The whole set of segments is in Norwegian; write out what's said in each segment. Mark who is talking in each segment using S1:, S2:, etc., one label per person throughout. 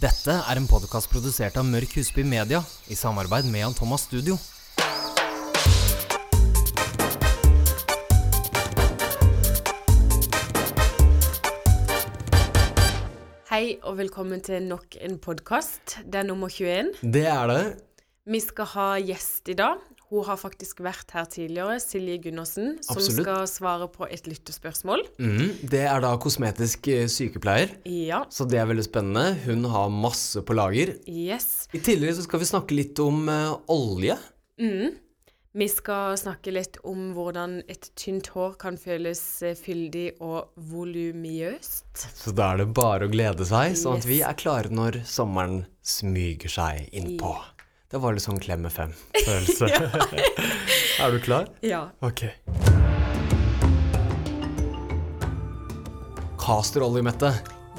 S1: Dette er en podkast produsert av Mørk Husby Media i samarbeid med Jan Thomas Studio.
S2: Hei og velkommen til nok en podkast. Det er nummer 21.
S1: Det er det.
S2: Vi skal ha gjest i dag. Hun har faktisk vært her tidligere, Silje Gundersen, som
S1: Absolutt.
S2: skal svare på et lyttespørsmål.
S1: Mm, det er da kosmetisk eh, sykepleier,
S2: Ja.
S1: så det er veldig spennende. Hun har masse på lager.
S2: Yes.
S1: I tillegg så skal vi snakke litt om eh, olje.
S2: Vi skal snakke litt om hvordan et tynt hår kan føles eh, fyldig og volumiøst.
S1: Så da er det bare å glede seg, sånn
S2: Yes.
S1: at vi er klare når sommeren smyger seg innpå. Det var litt sånn klemme fem-følelse. er du klar?
S2: Ja.
S1: Ok. Castorolje, Mette.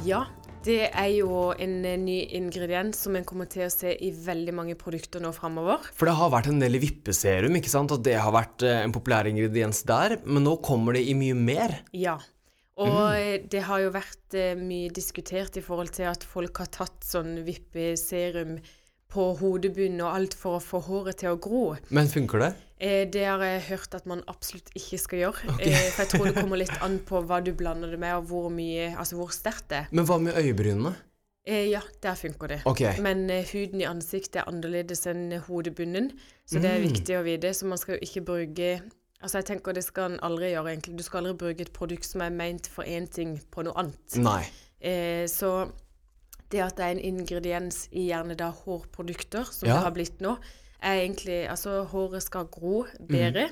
S2: Ja, det er jo en eh, ny ingrediens som en kommer til å se i veldig mange produkter nå framover.
S1: For det har vært en del i vippeserum, ikke sant? og det har vært eh, en populær ingrediens der. Men nå kommer det i mye mer.
S2: Ja. Og eh, det har jo vært eh, mye diskutert i forhold til at folk har tatt sånn vippeserum på hodebunnen og alt for å få håret til å gro.
S1: Men funker det?
S2: Eh, det har jeg hørt at man absolutt ikke skal gjøre. Eh, for jeg tror det kommer litt an på hva du blander det med, og hvor mye, altså hvor sterkt det er.
S1: Men hva med øyebrynene?
S2: Eh, ja, der funker det.
S1: Ok.
S2: Men eh, huden i ansiktet er annerledes enn hodebunnen, så det er viktig å vite. Så man skal jo ikke bruke Altså jeg tenker det skal en aldri gjøre, egentlig. Du skal aldri bruke et produkt som er meint for én ting, på noe annet.
S1: Nei.
S2: Eh, så det at det er en ingrediens i gjerne da hårprodukter, som
S1: Ja.
S2: det har blitt nå, er egentlig Altså, håret skal gro bedre,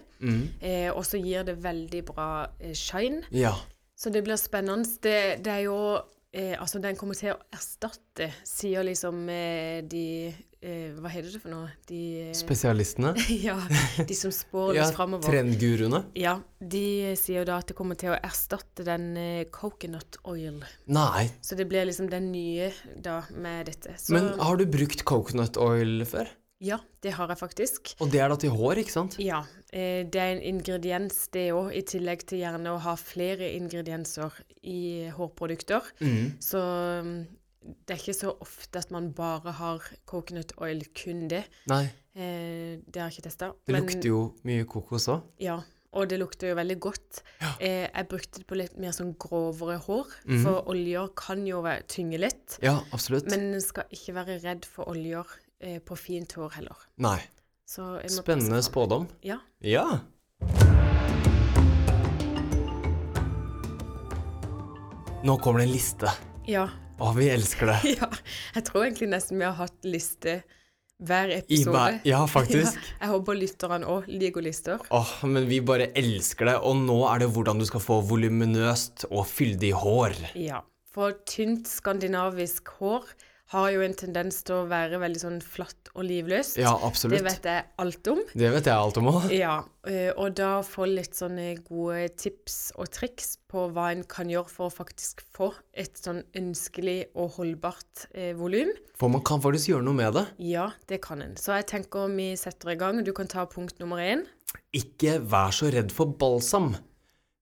S2: eh, og så gir det veldig bra eh, shine.
S1: Mm. Ja.
S2: Så det blir spennende. Det, det er jo eh, Altså, den kommer til å erstatte, sier liksom eh, de eh, Hva heter det for noe? De eh,
S1: Spesialistene.
S2: Ja, de som spår
S1: Ja,
S2: oss framover.
S1: Trendguruene.
S2: Ja, de sier jo da at det kommer til å erstatte den eh, coconut oil.
S1: Nei.
S2: Så det blir liksom den nye da med dette. Så
S1: Men har du brukt coconut oil før?
S2: ja, det har jeg faktisk.
S1: Og det er da til hår, ikke sant?
S2: Ja, eh, det er en ingrediens det òg, i tillegg til gjerne å ha flere ingredienser i hårprodukter. Så mm, det er ikke så ofte at man bare har coconut oil kun det.
S1: Nei.
S2: Eh, det har jeg ikke testa.
S1: Det lukter jo mye kokos òg.
S2: Ja, og det lukter jo veldig godt. Eh, jeg brukte det på litt mer sånn grovere hår,
S1: Mhm.
S2: for oljer kan jo være- tynge litt.
S1: Ja, absolutt.
S2: Men en skal ikke være redd for oljer eh, på fint hår heller.
S1: Nei.
S2: Så jeg må
S1: Spennende
S2: passe på.
S1: spådom.
S2: Ja.
S1: Ja. Nå kommer det en liste.
S2: ja.
S1: Å, vi elsker det.
S2: Ja. Jeg tror egentlig nesten vi har hatt liste hver
S1: I
S2: episode.
S1: hver- ja, faktisk.
S2: Ja, jeg håper lytterne òg liker lister.
S1: Åh, men vi bare elsker det. Og nå er det hvordan du skal få voluminøst og fyldig hår.
S2: Ja. For tynt skandinavisk hår har jo en tendens til å være veldig sånn flatt og livløst.
S1: Ja,
S2: det
S1: absolutt.
S2: vet jeg alt om.
S1: jeg alt om òg.
S2: Ja, eh, og da få litt sånne gode tips og triks på hva en kan gjøre for å faktisk få et sånn ønskelig og holdbart eh, volum.
S1: For man kan faktisk gjøre noe med det.
S2: Ja, det kan en. Så jeg tenker vi setter i gang. Du kan ta punkt nummer én.
S1: Ikke vær så redd for balsam.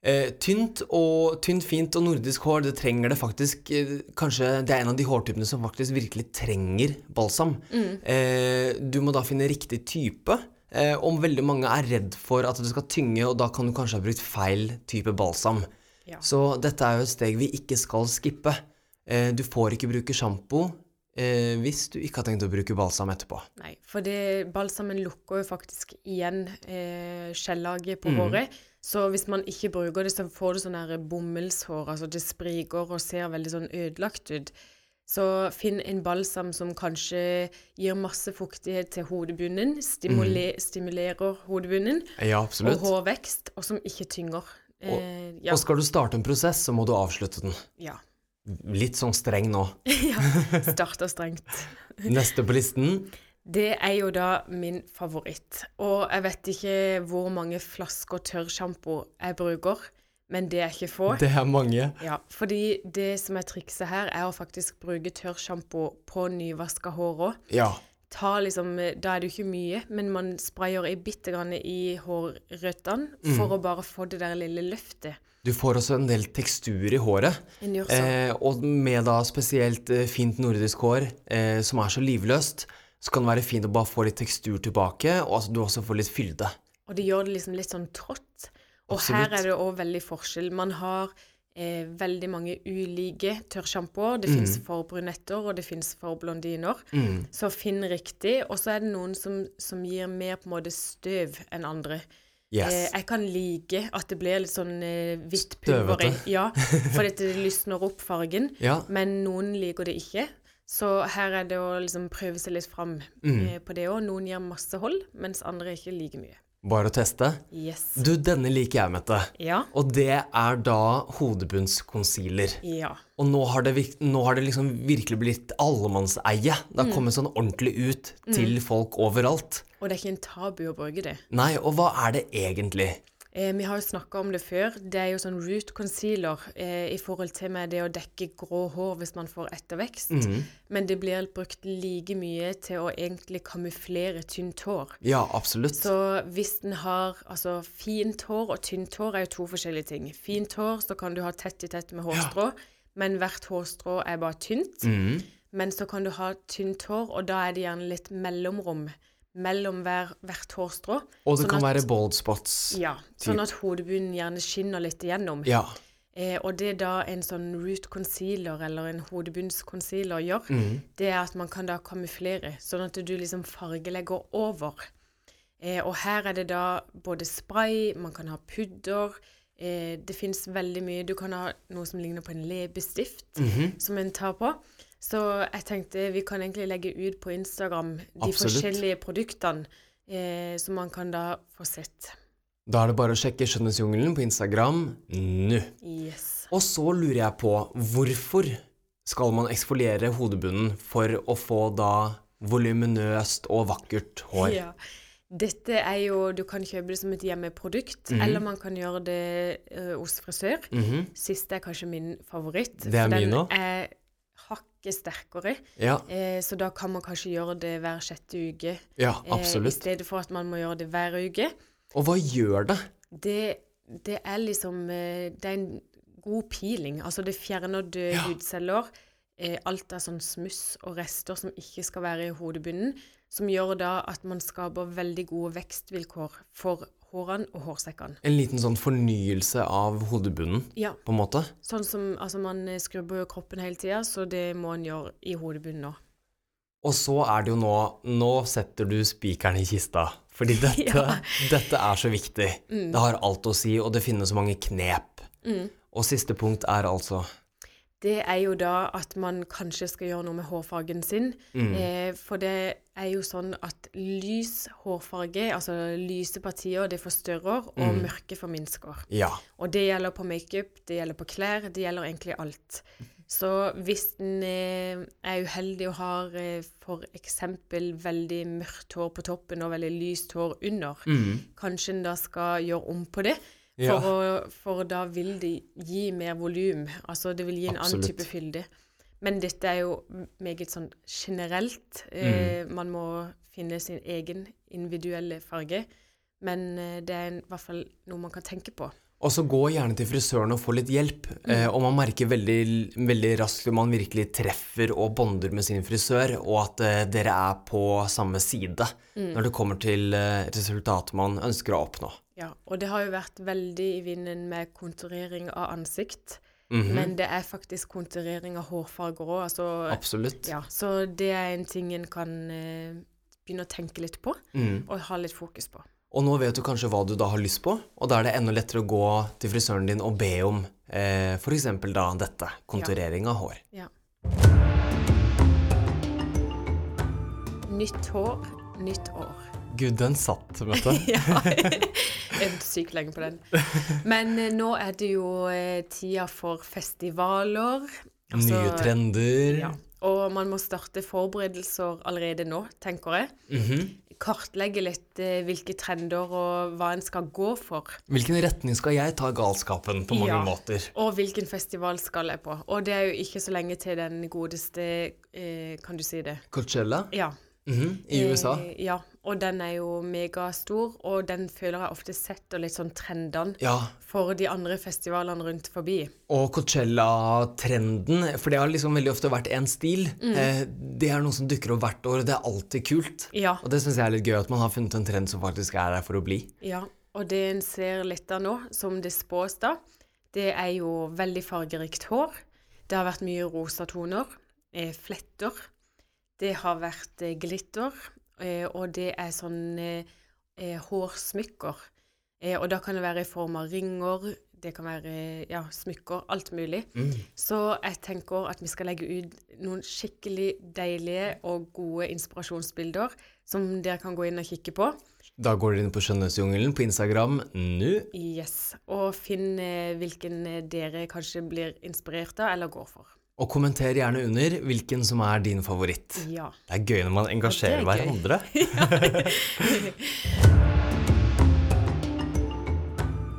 S1: Eh, tynt og tynt, fint og nordisk hår, det trenger det faktisk eh, Kanskje det er en av de hårtypene som faktisk virkelig trenger balsam.
S2: Mm.
S1: Eh, du må da finne riktig type. Eh, om veldig mange er redd for at det skal tynge, og da kan du kanskje ha brukt feil type balsam.
S2: Ja.
S1: Så dette er jo et steg vi ikke skal skippe. Eh, du får ikke bruke sjampo eh, hvis du ikke har tenkt å bruke balsam etterpå.
S2: Nei, for det, balsamen lukker jo faktisk igjen eh, skjellaget
S1: Mm.
S2: på håret. Så hvis man ikke bruker det, så får du sånn her bomullshår. Altså det spriker og ser veldig sånn ødelagt ut. Så finn en balsam som kanskje gir masse fuktighet til hodebunnen, stimule,
S1: Mm.
S2: stimulerer hodebunnen
S1: Ja,
S2: og hårvekst, og som ikke tynger. Eh, ja,
S1: Og skal du starte en prosess, så må du avslutte den.
S2: ja.
S1: Litt sånn streng nå.
S2: Starter strengt.
S1: Neste på listen.
S2: Det er jo da min favoritt. Og jeg vet ikke hvor mange flasker tørrsjampo jeg bruker, men det er ikke få.
S1: Det er mange.
S2: Ja, fordi det som er trikset her, er å faktisk bruke tørrsjampo på nyvaska hår òg.
S1: Ja.
S2: tar liksom eh, Da er det jo ikke mye, men man sprayer ei bitte grann i hårrøttene for å bare få det der lille løftet.
S1: Du får også en del tekstur i håret,
S2: En gjør sånn.
S1: eh, og med da spesielt eh, fint nordisk hår eh, som er så livløst, så kan det være fint å bare få litt tekstur tilbake, og at du også får litt fylde.
S2: Og det gjør det liksom litt sånn trått. Og
S1: Absolutt.
S2: her er det òg veldig forskjell. Man har eh, veldig mange ulike tørrsjampoer.
S1: Mm.
S2: Det fins for brunetter, og det fins for blondiner. Så finn riktig. Og så er det noen som, som gir mer på en måte støv enn andre. Eh,
S1: Yes.
S2: jeg kan like at det blir litt sånn eh, hvitt pulver i.
S1: Støvete.
S2: Ja, for dette lysner opp fargen.
S1: Ja.
S2: Men noen liker det ikke. Så her er det å liksom prøve seg litt fram
S1: Mm.
S2: eh, på det òg. Noen gir masse hold, mens andre ikke liker mye.
S1: Bare å teste.
S2: Yes.
S1: Du, denne liker jeg, Mette.
S2: Ja.
S1: Og det er da hodebunnskonsiler.
S2: Ja.
S1: Og nå har det, virk- nå har det liksom virkelig blitt allemannseie. Det
S2: Mm.
S1: har kommet sånn ordentlig ut til folk overalt.
S2: Og det er ikke en tabu å bruke det.
S1: Nei, og hva er det egentlig?
S2: Eh, vi har jo snakka om det før. Det er jo sånn root concealer eh, i forhold til med det å dekke grå hår hvis man får ettervekst. Men det blir brukt like mye til å egentlig kamuflere tynt hår.
S1: Ja, absolutt.
S2: Så hvis den har altså fint hår og tynt hår er jo to forskjellige ting. Fint hår, så kan du ha tett i tett med hårstrå, men hvert hårstrå er bare tynt.
S1: Mhm.
S2: Men så kan du ha tynt hår, og da er det gjerne litt mellomrom mellom hver, hvert hårstrå.
S1: og det
S2: sånn
S1: kan
S2: at-
S1: være bald spots.
S2: Ja, sånn at hodebunnen gjerne skinner litt igjennom.
S1: Ja.
S2: Eh, og det da en sånn root concealer eller en hodebunnsconcealer gjør, det er at man kan da kamuflere, sånn at du liksom fargelegger over. Eh, og her er det da både spray, man kan ha pudder, eh, det fins veldig mye. Du kan ha noe som ligner på en leppestift, som en tar på. Så jeg tenkte vi kan egentlig legge ut på Instagram de
S1: Absolutt.
S2: forskjellige produktene eh, som man kan da få sett.
S1: Da er det bare å sjekke Skjønnhetsjungelen på Instagram nå.
S2: Yes.
S1: Og så lurer jeg på hvorfor skal man eksfoliere hodebunnen for å få da voluminøst og vakkert hår?
S2: Ja. Dette er jo Du kan kjøpe det som et hjemmeprodukt,
S1: Mhm.
S2: eller man kan gjøre det eh, hos frisør. Siste er kanskje min favoritt.
S1: Det er
S2: for
S1: min også.
S2: Den er hakket sterkere,
S1: Ja,
S2: eh, så da kan man kanskje gjøre det hver sjette uke.
S1: ja
S2: eh, I
S1: absolutt.
S2: stedet for at man må gjøre det hver uke.
S1: Og hva gjør det?
S2: Det, det er liksom eh, Det er en god peeling. Altså, det fjerner døde hudceller. eh, Alt er sånn smuss og rester som ikke skal være i hodebunnen, som gjør da at man skaper veldig gode vekstvilkår for hårene og hårsekkene.
S1: En liten sånn fornyelse av hodebunnen,
S2: Ja,
S1: på en måte?
S2: sånn som altså man eh, skrubber jo kroppen hele tida, så det må en gjøre i hodebunnen òg.
S1: Og så er det jo nå Nå setter du spikeren i kista. Fordi dette,
S2: Ja. Mm.
S1: dette er så viktig. Det har alt å si, og det finnes så mange knep. Og siste punkt er altså
S2: det er jo da at man kanskje skal gjøre noe med hårfargen sin. Eh, for det er jo sånn at lys hårfarge, altså lyse partier, det forstørrer, og mørke forminsker.
S1: Ja.
S2: Og det gjelder på makeup, det gjelder på klær, det gjelder egentlig alt. Så hvis den eh, er uheldig og har eh, f.eks. veldig mørkt hår på toppen og veldig lyst hår under, kanskje en da skal gjøre om på det. For,
S1: Ja.
S2: å, for da vil det gi mer volum. Altså det vil gi en annen
S1: Absolutt.
S2: type fylde. Men dette er jo meget sånn generelt. Eh,
S1: Mm.
S2: Man må finne sin egen individuelle farge. Men eh, det er en, i hvert fall noe man kan tenke på.
S1: Og så gå gjerne til frisøren og få litt hjelp. Eh,
S2: Mm.
S1: og man merker veldig, veldig raskt om man virkelig treffer og bonder med sin frisør, og at eh, dere er på samme side
S2: Mm.
S1: når det kommer til eh, resultatet man ønsker å oppnå.
S2: Ja, og det har jo vært veldig i vinden med konturering av ansikt.
S1: Mm. Mhm.
S2: Men det er faktisk konturering av hårfarger òg. Altså,
S1: Absolutt.
S2: ja, så det er en ting en kan eh, begynne å tenke litt på,
S1: Mhm.
S2: og ha litt fokus på.
S1: Og nå vet du kanskje hva du da har lyst på, og da er det enda lettere å gå til frisøren din og be om eh, f.eks. da dette, konturering av hår.
S2: Ja. Nytt hår, nytt år.
S1: Gud, den satt, vet du.
S2: Ja. Jeg er sykt lenge på den. Men eh, nå er det jo eh, tida for festivaler.
S1: Nye
S2: Altså,
S1: trender.
S2: Ja. Og man må starte forberedelser allerede nå, tenker jeg.
S1: Mhm.
S2: Kartlegge litt eh, hvilke trender og hva en skal gå for.
S1: Hvilken retning skal jeg ta galskapen på mange
S2: Ja.
S1: måter?
S2: Og hvilken festival skal jeg på. Og det er jo ikke så lenge til den godeste eh, Kan du si det?
S1: Coachella?
S2: Ja.
S1: Mhm, I USA.
S2: Eh, ja, og den er jo megastor, og den føler jeg ofte sett og litt sånn trendene
S1: Ja.
S2: for de andre festivalene rundt forbi.
S1: Og Coachella-trenden, for det har liksom veldig ofte vært én stil. Eh, det er noe som dukker opp hvert år, og det er alltid kult.
S2: Ja,
S1: Og det syns jeg er litt gøy, at man har funnet en trend som faktisk er der for å bli.
S2: ja. Og det en ser litt av nå, som det spås da, det er jo veldig fargerikt hår. Det har vært mye rosa toner, eh, fletter. Det har vært eh, glitter, eh, og det er sånn eh, eh, hårsmykker. Eh, og da kan det være i form av ringer, det kan være eh, ja, smykker, alt mulig. Så jeg tenker at vi skal legge ut noen skikkelig deilige og gode inspirasjonsbilder som dere kan gå inn og kikke på.
S1: Da går dere inn på Skjønnhetsjungelen på Instagram nå.
S2: Yes. Og finn eh, hvilken eh, dere kanskje blir inspirert av eller går for.
S1: Og kommenter gjerne under hvilken som er din favoritt.
S2: Ja.
S1: Det er gøy når man engasjerer
S2: Ja, det er gøy.
S1: hverandre.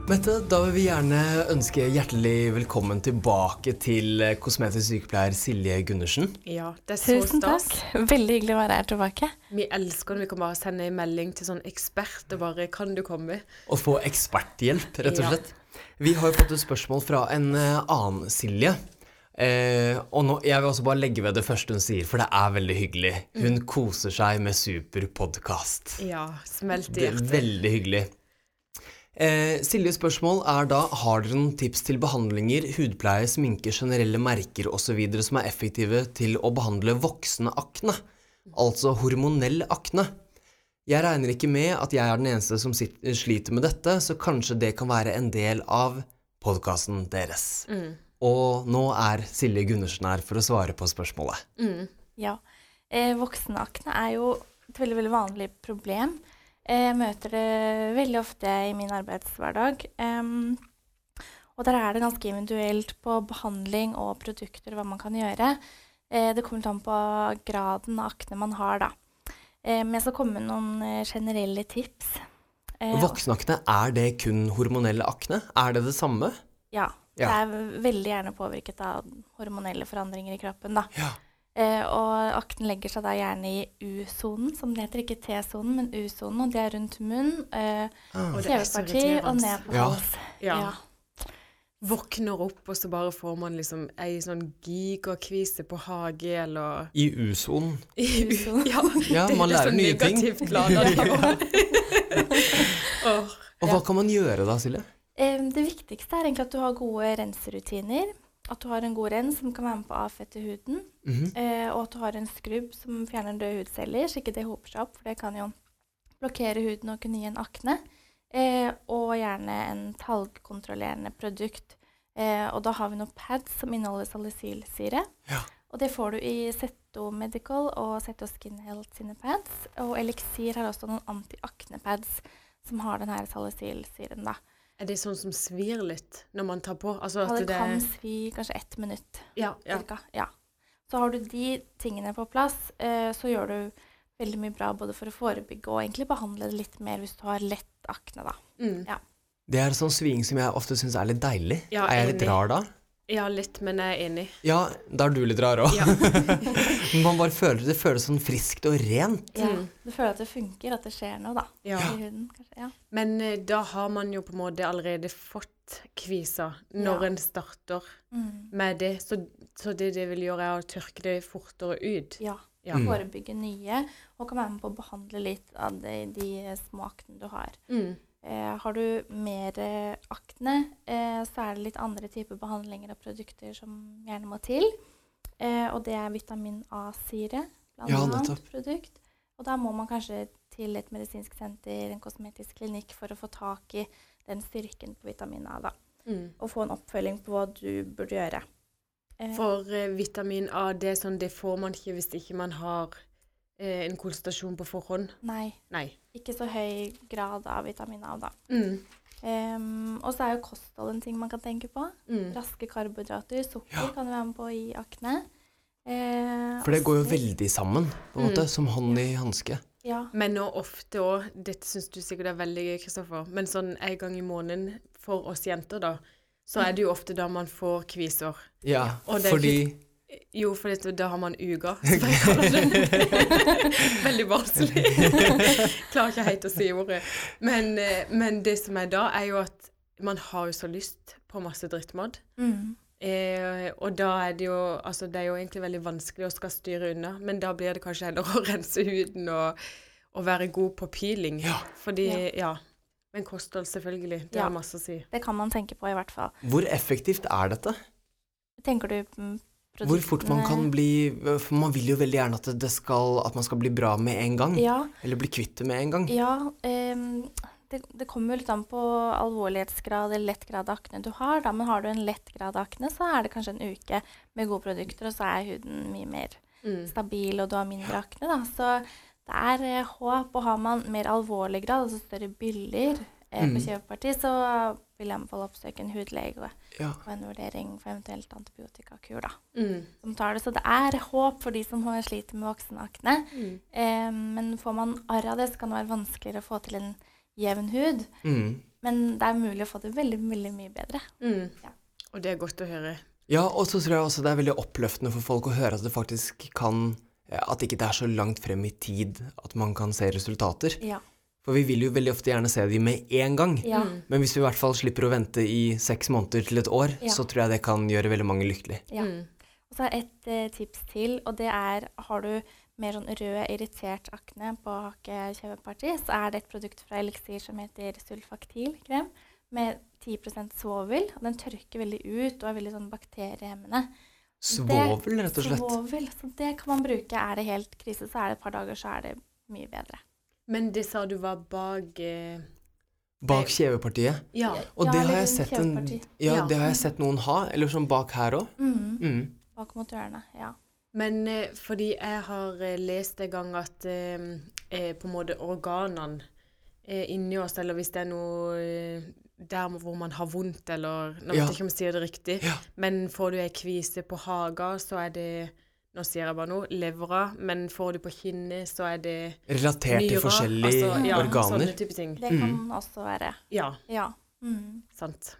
S1: Mette, da vil vi gjerne ønske hjertelig velkommen tilbake til eh, kosmetisk sykepleier Silje Gundersen.
S2: ja. Det er så
S3: Tusen
S2: stas.
S3: takk. Veldig hyggelig å være her tilbake.
S2: Vi elsker når vi kan bare sende en melding til sånn ekspert og bare 'Kan du komme?'
S1: Og få eksperthjelp, rett og
S2: Ja.
S1: slett. Vi har jo fått et spørsmål fra en eh, annen Silje. Eh, og nå, jeg vil også bare legge ved det første hun sier, for det er veldig hyggelig. Hun
S2: Mm.
S1: koser seg med super podcast.
S2: Ja. Smelt i
S1: Det er
S2: hjertet.
S1: veldig hyggelig. Eh, Siljes spørsmål er da har dere noen tips til behandlinger, hudpleie, sminke, generelle merker osv. som er effektive til å behandle voksende akne, altså hormonell akne? Jeg regner ikke med at jeg er den eneste som sit- sliter med dette, så kanskje det kan være en del av podkasten deres. Og nå er Silje Gundersen her for å svare på spørsmålet.
S3: Ja. Eh, Voksenakne er jo et veldig, veldig vanlig problem. Eh, Jeg møter det veldig ofte i min arbeidshverdag. Em, og der er det ganske individuelt på behandling og produkter hva man kan gjøre. Eh, Det kommer litt an på graden av akne man har, da. Eh, Men jeg skal komme med noen eh, generelle tips. Eh,
S1: Voksenakne, er det kun hormonell akne? Er det det samme?
S3: Ja. Det
S1: Ja.
S3: er veldig gjerne påvirket av hormonelle forandringer i kroppen, da.
S1: Ja.
S3: Eh, og akten legger seg da gjerne i U-sonen, som det heter. Ikke T-sonen, men U-sonen. Og det er rundt munn, eh,
S1: Ah.
S2: Og det er så
S3: TV-parti og
S2: irriterende.
S3: ned på
S1: Ja.
S3: hals.
S2: Ja. Våkner opp, og så bare får man liksom ei sånn gigakvise på hage eller
S1: I U-sonen.
S2: Ja,
S1: Ja,
S2: det-
S1: man
S2: det er
S1: lærer
S2: så
S1: nye ting.
S2: negativt ladet, ja. Åh.
S1: Og hva kan man gjøre da, Silje?
S3: Eh, det viktigste er egentlig at du har gode renserutiner. At du har en god rens som kan være med på å avfette huden.
S1: Mhm.
S3: eh, og at du har en skrubb som fjerner døde hudceller, så ikke det hoper seg opp. For det kan jo blokkere huden og kunne gi en akne. Eh, og gjerne en talgkontrollerende produkt. Eh, og da har vi noen pads som inneholder salicylsyre.
S1: Ja.
S3: Og det får du i Zetto Medical og Zetto Skin Health sine pads. Og Elixir har også noen antiakne-pads som har den her salicylsyren, da.
S2: Er det sånn som svir litt når man tar på? Altså
S3: Ja,
S2: at
S3: det
S2: det
S3: kan svi kanskje ett minutt.
S2: ja, ja.
S3: Cirka. Ja. Så har du de tingene på plass, eh, så gjør du veldig mye bra både for å forebygge og egentlig behandle det litt mer hvis du har lett akne, da.
S2: Mm.
S3: Ja.
S1: Det er sånn sving som jeg ofte syns er litt deilig.
S2: Ja,
S1: er jeg litt
S2: enig.
S1: rar da?
S2: ja, litt, men jeg er enig.
S1: Ja, da er du litt rar òg.
S2: Ja.
S1: Man bare føler det føles sånn friskt og rent.
S3: Ja.
S2: Mm.
S3: Du føler at det funker, at det skjer noe, da.
S2: Ja.
S3: I huden, kanskje. Ja.
S2: Men eh, da har man jo på en måte allerede fått kvisa når
S3: Ja.
S2: en starter
S3: Mm.
S2: med det. Så, så det det vil gjøre, er å tørke det fortere ut.
S3: ja.
S2: Ja.
S3: Forebygge nye, og kan være med på å behandle litt av de, de små aknene du har.
S2: Mm.
S3: Eh, har du mer eh, akne, eh, så er det litt andre typer behandlinger og produkter som gjerne må til. Eh, og det er vitamin A-syre, blant
S1: Ja,
S3: annet
S1: nettopp.
S3: produkt. Og da må man kanskje til et medisinsk senter, en kosmetisk klinikk, for å få tak i den styrken på vitamin A, da.
S2: Mm.
S3: Og få en oppfølging på hva du burde gjøre. Eh,
S2: For eh, vitamin A, det, er sånn, det får man ikke hvis ikke man har eh, en konsultasjon på forhånd.
S3: nei,
S2: Nei.
S3: ikke så høy grad av vitamin A, da.
S2: Mm.
S3: Em, og så er jo kosthold en ting man kan tenke på.
S2: Mm.
S3: Raske karbohydrater, sukker
S1: Ja.
S3: kan jo være med på å gi akne. Eh,
S1: For det går jo
S3: også-
S1: veldig sammen, på en måte.
S2: Mm.
S1: Som hånd i hanske.
S3: Ja.
S2: Men nå ofte òg, dette syns du sikkert er veldig gøy, Kristoffer, men sånn en gang i måneden Mm. for oss jenter, da, så er det jo ofte da man får kviser.
S1: Ja,
S2: Og det er
S1: fordi
S2: Jo, for det, da har man uga. Så jeg kaller den Veldig barnslig. Klarer ikke helt å si ordet. Men, eh, men det som er da, er jo at man har jo så lyst på masse drittmat.
S3: Mm.
S2: Eh, og da er det jo Altså, det er jo egentlig veldig vanskelig å skal styre unna, men da blir det kanskje heller å rense huden og, og være god på peeling.
S1: Ja.
S2: Fordi
S3: Ja.
S2: Ja. Men kosthold, selvfølgelig. Det
S3: Ja.
S2: har masse å si.
S3: Det kan man tenke på, i hvert fall.
S1: Hvor effektivt er dette?
S3: Tenker du mm,
S1: Hvor fort man kan
S3: produktene-
S1: bli For man vil jo veldig gjerne at, det skal, at man skal bli bra med en gang.
S3: Ja.
S1: Eller bli kvitt det med en gang.
S3: Ja, ehm, det, det kommer jo litt an på alvorlighetsgrad eller lett grad av akne du har. Da. Men har du en lett grad av akne, så er det kanskje en uke med gode produkter, og så er huden mye mer
S2: Mm.
S3: stabil, og du har mindre akne. Da. Så det er eh, håp. Og har man mer alvorlig grad, altså større byller eh,
S1: Mm.
S3: på kjøpeparti, så vil jeg anbefale å oppsøke en hudlege og-
S1: Ja.
S3: og en vurdering for eventuelt antibiotikakur. Da,
S2: Mm.
S3: som tar det. Så det er håp for de som har- sliter med voksenakne.
S2: Mm.
S3: Eh, men får man arr av det, så kan det være vanskeligere å få til en jevn hud.
S1: Mm.
S3: Men det er mulig å få det veldig, veldig mye bedre.
S2: Mm.
S3: Ja.
S2: Og det er godt å høre.
S1: ja, og så tror jeg også det er veldig oppløftende for folk å høre at det faktisk kan eh, At ikke det er så langt frem i tid at man kan se resultater.
S3: Ja.
S1: For vi vil jo veldig ofte gjerne se de med en gang.
S3: ja.
S2: Mm.
S1: Men hvis vi i hvert fall slipper å vente i seks måneder til et år,
S3: Ja.
S1: så tror jeg det kan gjøre veldig mange lykkelig.
S3: Ja.
S2: Mm.
S3: Og så er et eh, tips til, og det er har du mer sånn rød, irritert akne på hake-kjeveparti, så er det et produkt fra Elixir som heter sulfaktilkrem med 10 svovel. og Den tørker veldig ut og er veldig sånn bakteriehemmende.
S1: Svovel, rett og slett.
S3: Svovel, så det kan man bruke. Er det helt krise, så er det et par dager, så er det mye bedre.
S2: Men det sa du var bak eh,
S1: Bak kjevepartiet.
S2: Ja.
S1: Og
S3: Ja,
S1: det,
S3: eller
S1: har jeg
S3: rundt
S1: sett en,
S3: kjeveparti.
S1: ja,
S2: Ja.
S1: det har jeg sett noen ha, eller sånn bak her òg.
S3: Mm.
S1: Mm.
S3: Bak mot ørene, ja.
S2: Men eh, fordi jeg har eh, lest en gang at eh, eh, på en måte organene eh, inni oss, eller hvis det er noe eh, der hvor man har vondt, eller Nå vet
S1: Ja.
S2: jeg ikke om jeg sier det riktig,
S1: Ja.
S2: men får du ei kvise på haga, så er det Nå sier jeg bare noe. Levra. Men får du på kinnet, så er det
S1: Relatert til
S2: nyra.
S1: forskjellige
S2: altså, ja,
S1: organer.
S2: Sånne type ting.
S3: Det kan
S1: Mm.
S3: også være.
S2: Ja,
S3: Ja. Mm.
S2: sant.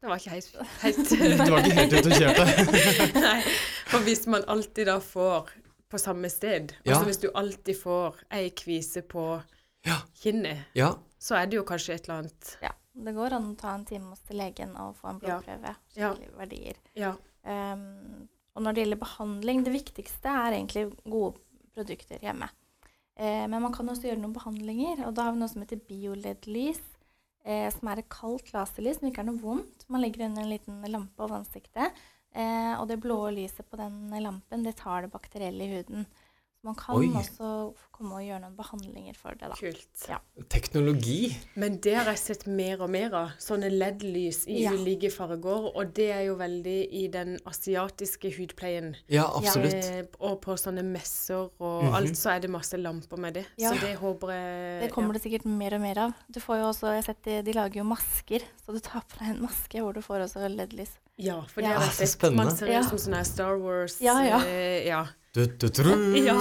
S2: Det var ikke helt, helt
S1: Det var ikke helt ute å kjøre.
S2: Nei, for hvis man alltid da får på samme sted,
S1: Ja.
S2: altså hvis du alltid får ei kvise på
S1: Ja.
S2: kinnet,
S1: Ja.
S2: så er det jo kanskje et eller annet
S3: ja. Det går an å ta en time hos legen og få en
S2: Ja.
S3: blodprøve.
S2: Ja.
S3: Skikkelige verdier.
S2: Ja.
S3: Ehm, og når det gjelder behandling, det viktigste er egentlig gode produkter hjemme. Eh, men man kan også gjøre noen behandlinger, og da har vi noe som heter bioled-lys. Eh, som er et kaldt laserlys som ikke er noe vondt. Man legger under en liten lampe over ansiktet, eh, og det blå lyset på den lampen det tar det bakterielle i huden. Så man kan
S1: Oi.
S3: også komme og gjøre noen behandlinger for det, da.
S2: Kult.
S3: Ja.
S1: Teknologi.
S2: Men det har jeg sett mer og mer av. Sånne LED-lys i
S3: Ja.
S2: ulike farger. Og det er jo veldig i den asiatiske hudpleien.
S1: Ja, absolutt.
S2: Eh, og på sånne messer og
S1: Mhm.
S2: alt, så er det masse lamper med det.
S3: Ja.
S2: Så det håper jeg
S3: Det kommer det sikkert mer og mer av. Du får jo også, jeg har sett de, de lager jo masker, så du tar på deg en maske hvor du får også LED-lys.
S2: Ja, ja for det
S3: Ja.
S2: har
S1: Ah, så
S2: jeg sett. Man
S1: spennende.
S2: ser
S3: Ja.
S2: ut som sånne Star Wars
S3: Ja, ja.
S2: Eh, ja.
S1: Du, du, tru.
S2: Ja.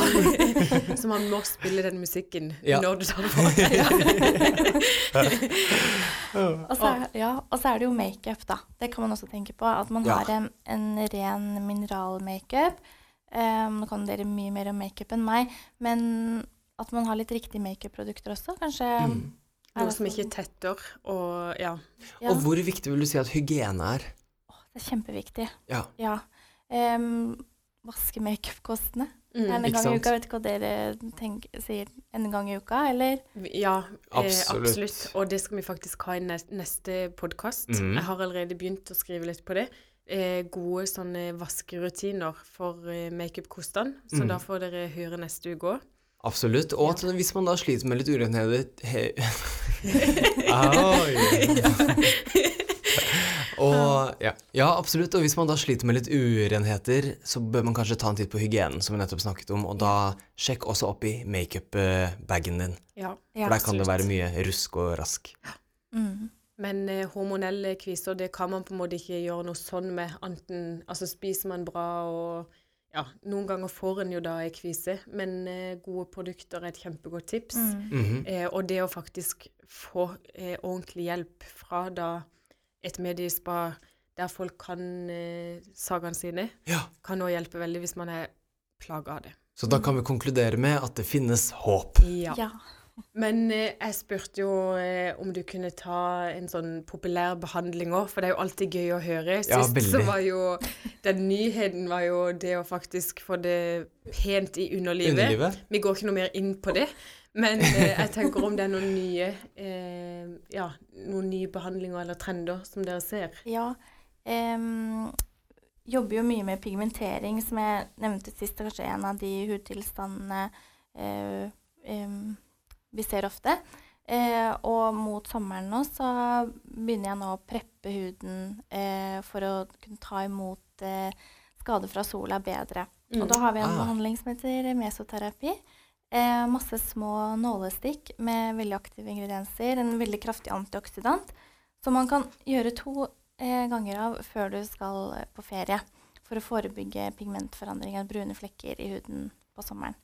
S2: Så man må spille den musikken
S1: Ja.
S2: når du tar det på deg.
S3: Og så, er, ja, og så er det jo makeup, da. Det kan man også tenke på. At man
S1: Ja.
S3: har en, en ren mineralmakeup. Um, nå kan dere mye mer om makeup enn meg, men at man har litt riktige makeup-produkter også, kanskje.
S1: Mm.
S3: er
S2: Noe som
S3: også-
S2: ikke tetter. Og ja.
S3: ja,
S1: Og hvor viktig vil du si at hygiene er?
S3: Det er kjempeviktig.
S1: Ja.
S3: Ja. Um, vaske makeup-kostene
S1: Mm,
S3: en
S1: Ikke
S3: gang i
S1: sant?
S3: uka. Vet ikke hva dere tenker, sier. En gang i uka, eller?
S2: Ja, absolutt. Eh,
S1: Absolutt.
S2: absolutt. Og det skal vi faktisk ha i nes- neste podkast.
S1: Mhm.
S2: Jeg har allerede begynt å skrive litt på det. Eh, gode sånne vaskerutiner for eh, makeup-kostene. Så
S1: Mhm.
S2: da får dere høre neste uke òg.
S1: Absolutt. Og at hvis man da sliter med litt urenhet he- Og ja. ja, absolutt. Og hvis man da sliter med litt urenheter, så bør man kanskje ta en titt på hygienen, som vi nettopp snakket om, og da sjekk også opp i makeup-bagen din.
S2: Ja.
S1: For der kan det
S2: absolutt.
S1: være mye rusk og rask.
S3: Mm.
S2: Men eh, hormonelle kviser, det kan man på en måte ikke gjøre noe sånn med. Anten altså spiser man bra og ja, noen ganger får en jo da ei kvise, men eh, gode produkter er et kjempegodt tips.
S3: Mm.
S1: Mhm.
S2: Eh, og det å faktisk få eh, ordentlig hjelp fra da et mediespa der folk kan eh, sagaene sine,
S1: Ja.
S2: kan også hjelpe veldig hvis man er plaga av det.
S1: Så da kan vi konkludere med at det finnes håp.
S2: Ja.
S3: Ja.
S2: Men eh, jeg spurte jo eh, om du kunne ta en sånn populær behandling òg, for det er jo alltid gøy å høre.
S1: Ja,
S2: Sist så
S1: veldig.
S2: var jo den nyheten var jo det å faktisk få det pent i underlivet.
S1: Underlivet.
S2: Vi går ikke noe mer inn på det, men eh, jeg tenker om det er noen nye eh, ja, noen nye behandlinger eller trender som dere ser.
S3: Ja. em, jobber jo mye med pigmentering, som jeg nevnte sist. Det er kanskje en av de hudtilstandene eh, em, vi ser ofte. Eh, og mot sommeren nå så begynner jeg nå å preppe huden eh, for å kunne ta imot eh, skader fra sola bedre.
S2: Mm.
S3: Og da har vi en
S1: Ah.
S3: behandling som heter mesoterapi. Eh, masse små nålestikk med veldig aktive ingredienser. En veldig kraftig antioksidant som man kan gjøre to eh, ganger av før du skal eh, på ferie. For å forebygge pigmentforandringer, brune flekker i huden på sommeren.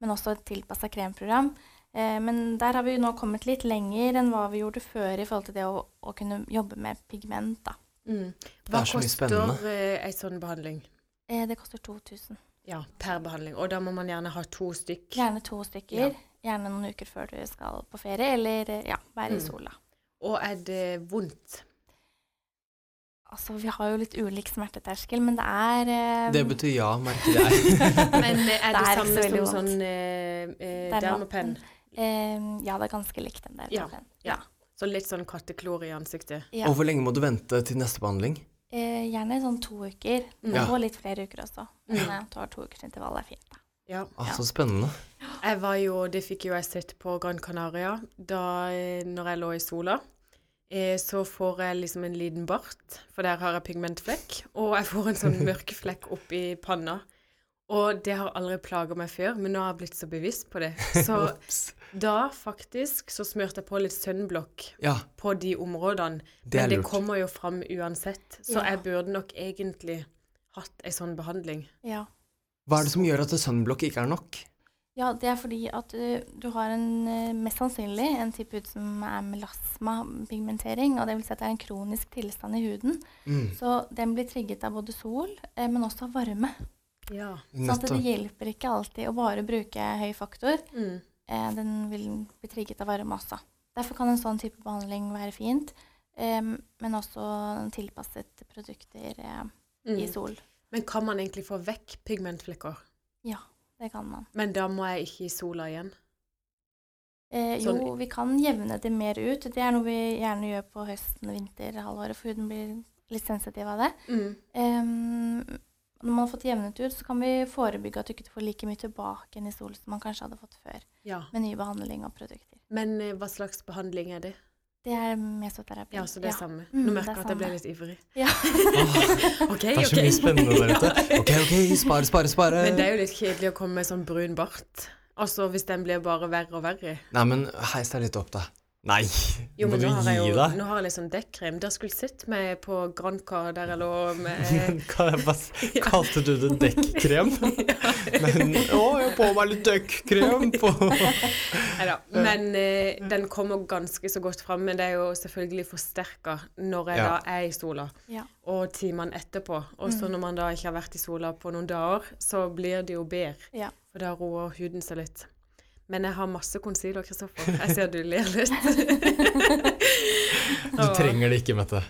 S3: Men også et tilpassa kremprogram. Eh, men der har vi jo nå kommet litt lenger enn hva vi gjorde før i forhold til det å, å kunne jobbe med pigment. Da.
S2: Mm.
S1: Det
S2: Hva
S1: er så mye
S2: koster
S1: spennende.
S2: eh, ei sånn behandling?
S3: Eh, det koster 2000.
S2: Ja, per behandling. Og da må man gjerne ha to stykk.
S3: Gjerne to
S2: Ja.
S3: stykker. Gjerne noen uker før du skal på ferie, eller eh, ja, være
S2: Mm.
S3: i sola.
S2: Og er det vondt?
S3: Altså, vi har jo litt ulik smerteterskel, men det er eh,
S1: Det betyr ja, merker jeg.
S2: Men eh, er det,
S3: Det er ikke
S2: samme
S3: så veldig
S2: som
S3: vondt.
S2: sånn eh, eh,
S3: Det er
S2: dermapenn?
S3: eh, Ja, det er ganske likt den der.
S2: Ja.
S3: men-
S2: Ja. Så litt sånn katteklor i ansiktet.
S3: Ja.
S1: Og hvor lenge må du vente til neste behandling?
S3: Eh, gjerne sånn to uker,
S1: Ja.
S3: og litt flere uker også. Men
S2: Mm.
S3: eh, du har to ukers intervall, det er fint. Da.
S2: Ja.
S1: Ah,
S3: Ja.
S1: Så spennende.
S2: Jeg var jo, det fikk jo jeg sett på Gran Canaria da eh, når jeg lå i sola. Eh, så får jeg liksom en liten bart, for der har jeg pigmentflekk. Og jeg får en sånn mørk flekk opp i panna. Og det har aldri plaga meg før, men nå har jeg blitt så bevisst på det. Så
S1: Ops.
S2: da faktisk så smurte jeg på litt sunblock
S1: Ja,
S2: på de områdene.
S1: Det er
S2: men det
S1: lurt.
S2: kommer jo fram uansett. Så
S3: Ja.
S2: jeg burde nok egentlig hatt ei sånn behandling.
S3: Ja.
S1: Hva er det som gjør at sunblock ikke er nok?
S3: ja, det er fordi at eh, du har en, eh, mest sannsynlig en type hud som er melasmapigmentering, og det vil si at det er en kronisk tilstand i huden.
S1: Mm,
S3: Så den blir trigget av både sol, eh, men også av varme.
S2: Ja.
S3: Sånn at det
S1: nettopp.
S3: hjelper ikke alltid å bare bruke høy faktor.
S2: Mm.
S3: Eh, den vil bli trigget av varme også. Derfor kan en sånn type behandling være fint, eh, men også tilpasset produkter eh, i
S2: Mm.
S3: sol.
S2: Men kan man egentlig få vekk pigmentflekker?
S3: Det kan man.
S2: Men da må jeg ikke i sola igjen.
S3: Eh,
S2: Sånn-
S3: jo, vi kan jevne det mer ut. Det er noe vi gjerne gjør på høsten og vinterhalvåret, for huden blir litt sensitiv av det. Eh, når man har fått jevnet ut, så kan vi forebygge at du ikke får like mye tilbake igjen i sol som man kanskje hadde fått før,
S2: Ja.
S3: med ny behandling og produkter.
S2: Men eh, hva slags behandling er det?
S3: Det er mesoterapi.
S2: Ja, så det er samme. Nå
S3: Mm, det
S2: merker
S3: er
S2: jeg at jeg ble
S3: samme.
S2: litt ivrig.
S3: Ja.
S2: OK,
S1: Ah, Det er så
S2: ok.
S1: mye spennende der ute. Ok, ok, spare, spare, spare.
S2: Men det er jo litt kjedelig å komme med sånn brun bart. Altså hvis den blir bare verre og verre.
S1: Nei, men heis deg litt opp, da. Nei,
S2: Jo,
S1: må
S2: men
S1: du
S2: nå har jeg
S1: gi
S2: jo
S1: deg?
S2: nå har jeg litt sånn dekkkrem. Dere skulle sett meg på Granca der jeg lå med
S1: Hva er hva s- Kalte du det dekkkrem? Men å, jeg har på meg litt dekkkrem på
S2: Nei da. Men eh, den kommer ganske så godt fram. Men det er jo selvfølgelig forsterka når jeg
S1: Ja.
S2: da er i sola.
S3: Ja.
S2: og timene etterpå. Og
S1: Mm.
S2: så når man da ikke har vært i sola på noen dager, så blir det jo bedre.
S3: Ja.
S2: For da roer huden seg litt. Men jeg har masse concealer, Kristoffer. Jeg ser du ler litt.
S1: Du trenger det ikke, Mette.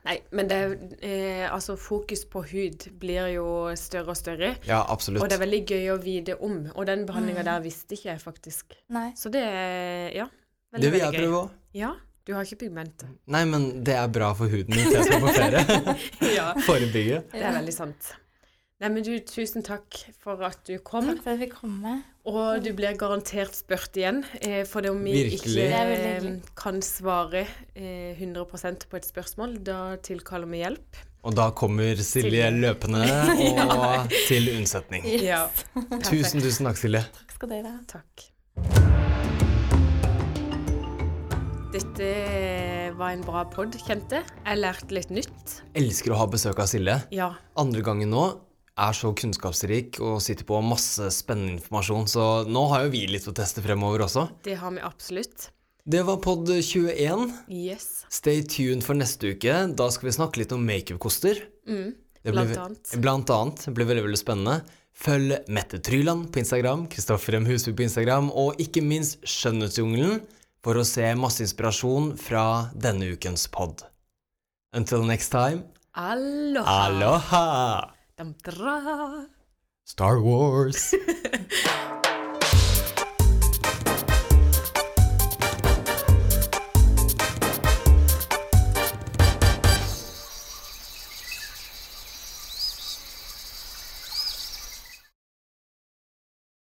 S2: Nei, men det er eh, altså fokus på hud blir jo større og større.
S1: Ja,
S2: Og det
S1: absolutt. Mm.
S2: er veldig gøy å vite om. Og den behandlinga der visste ikke jeg faktisk.
S3: Nei.
S2: Så det er ja, veldig,
S1: Det vil jeg
S2: veldig
S1: prøve
S2: gøy.
S1: òg.
S2: Ja, du har ikke pigmentet.
S1: Nei, men det er bra for huden hvis jeg skal på ferie.
S2: ja,
S1: Forebygge.
S2: det er veldig sant. Nei, men du, tusen takk for at du kom.
S3: Takk for at vi kom med.
S2: Og du blir garantert spurt igjen, eh, for om vi
S1: Virkelig.
S2: ikke
S1: Det
S3: er veldig
S2: eh,
S3: hyggelig.
S2: kan svare eh, 100 på et spørsmål, da tilkaller vi hjelp.
S1: Og da kommer Silje
S2: Silje.
S1: løpende og til unnsetning.
S2: Ja.
S1: Tusen, tusen takk, Silje.
S3: Takk skal dere ha.
S2: Takk. Dette var en bra pod, kjente. jeg. Jeg lærte litt nytt.
S1: Elsker å ha besøk av Silje.
S2: Ja.
S1: Andre gangen nå er så kunnskapsrik og sitter på masse spennende informasjon, så nå har jo vi litt å teste fremover også.
S2: Det har vi absolutt.
S1: Det var pod 21.
S2: Yes.
S1: Stay tuned for neste uke. Da skal vi snakke litt om makeupkoster.
S2: Mm.
S1: Det
S2: Blant
S1: blir-
S2: annet.
S1: Blant annet. Det blir veldig, veldig spennende. Følg Mette Tryland på Instagram, Kristoffer M. Husby på Instagram, og ikke minst Skjønnhetsjungelen for å se masse inspirasjon fra denne ukens pod. Until next time,
S2: Aloha.
S1: aloha!
S2: Dam, dra.
S1: Star Wars!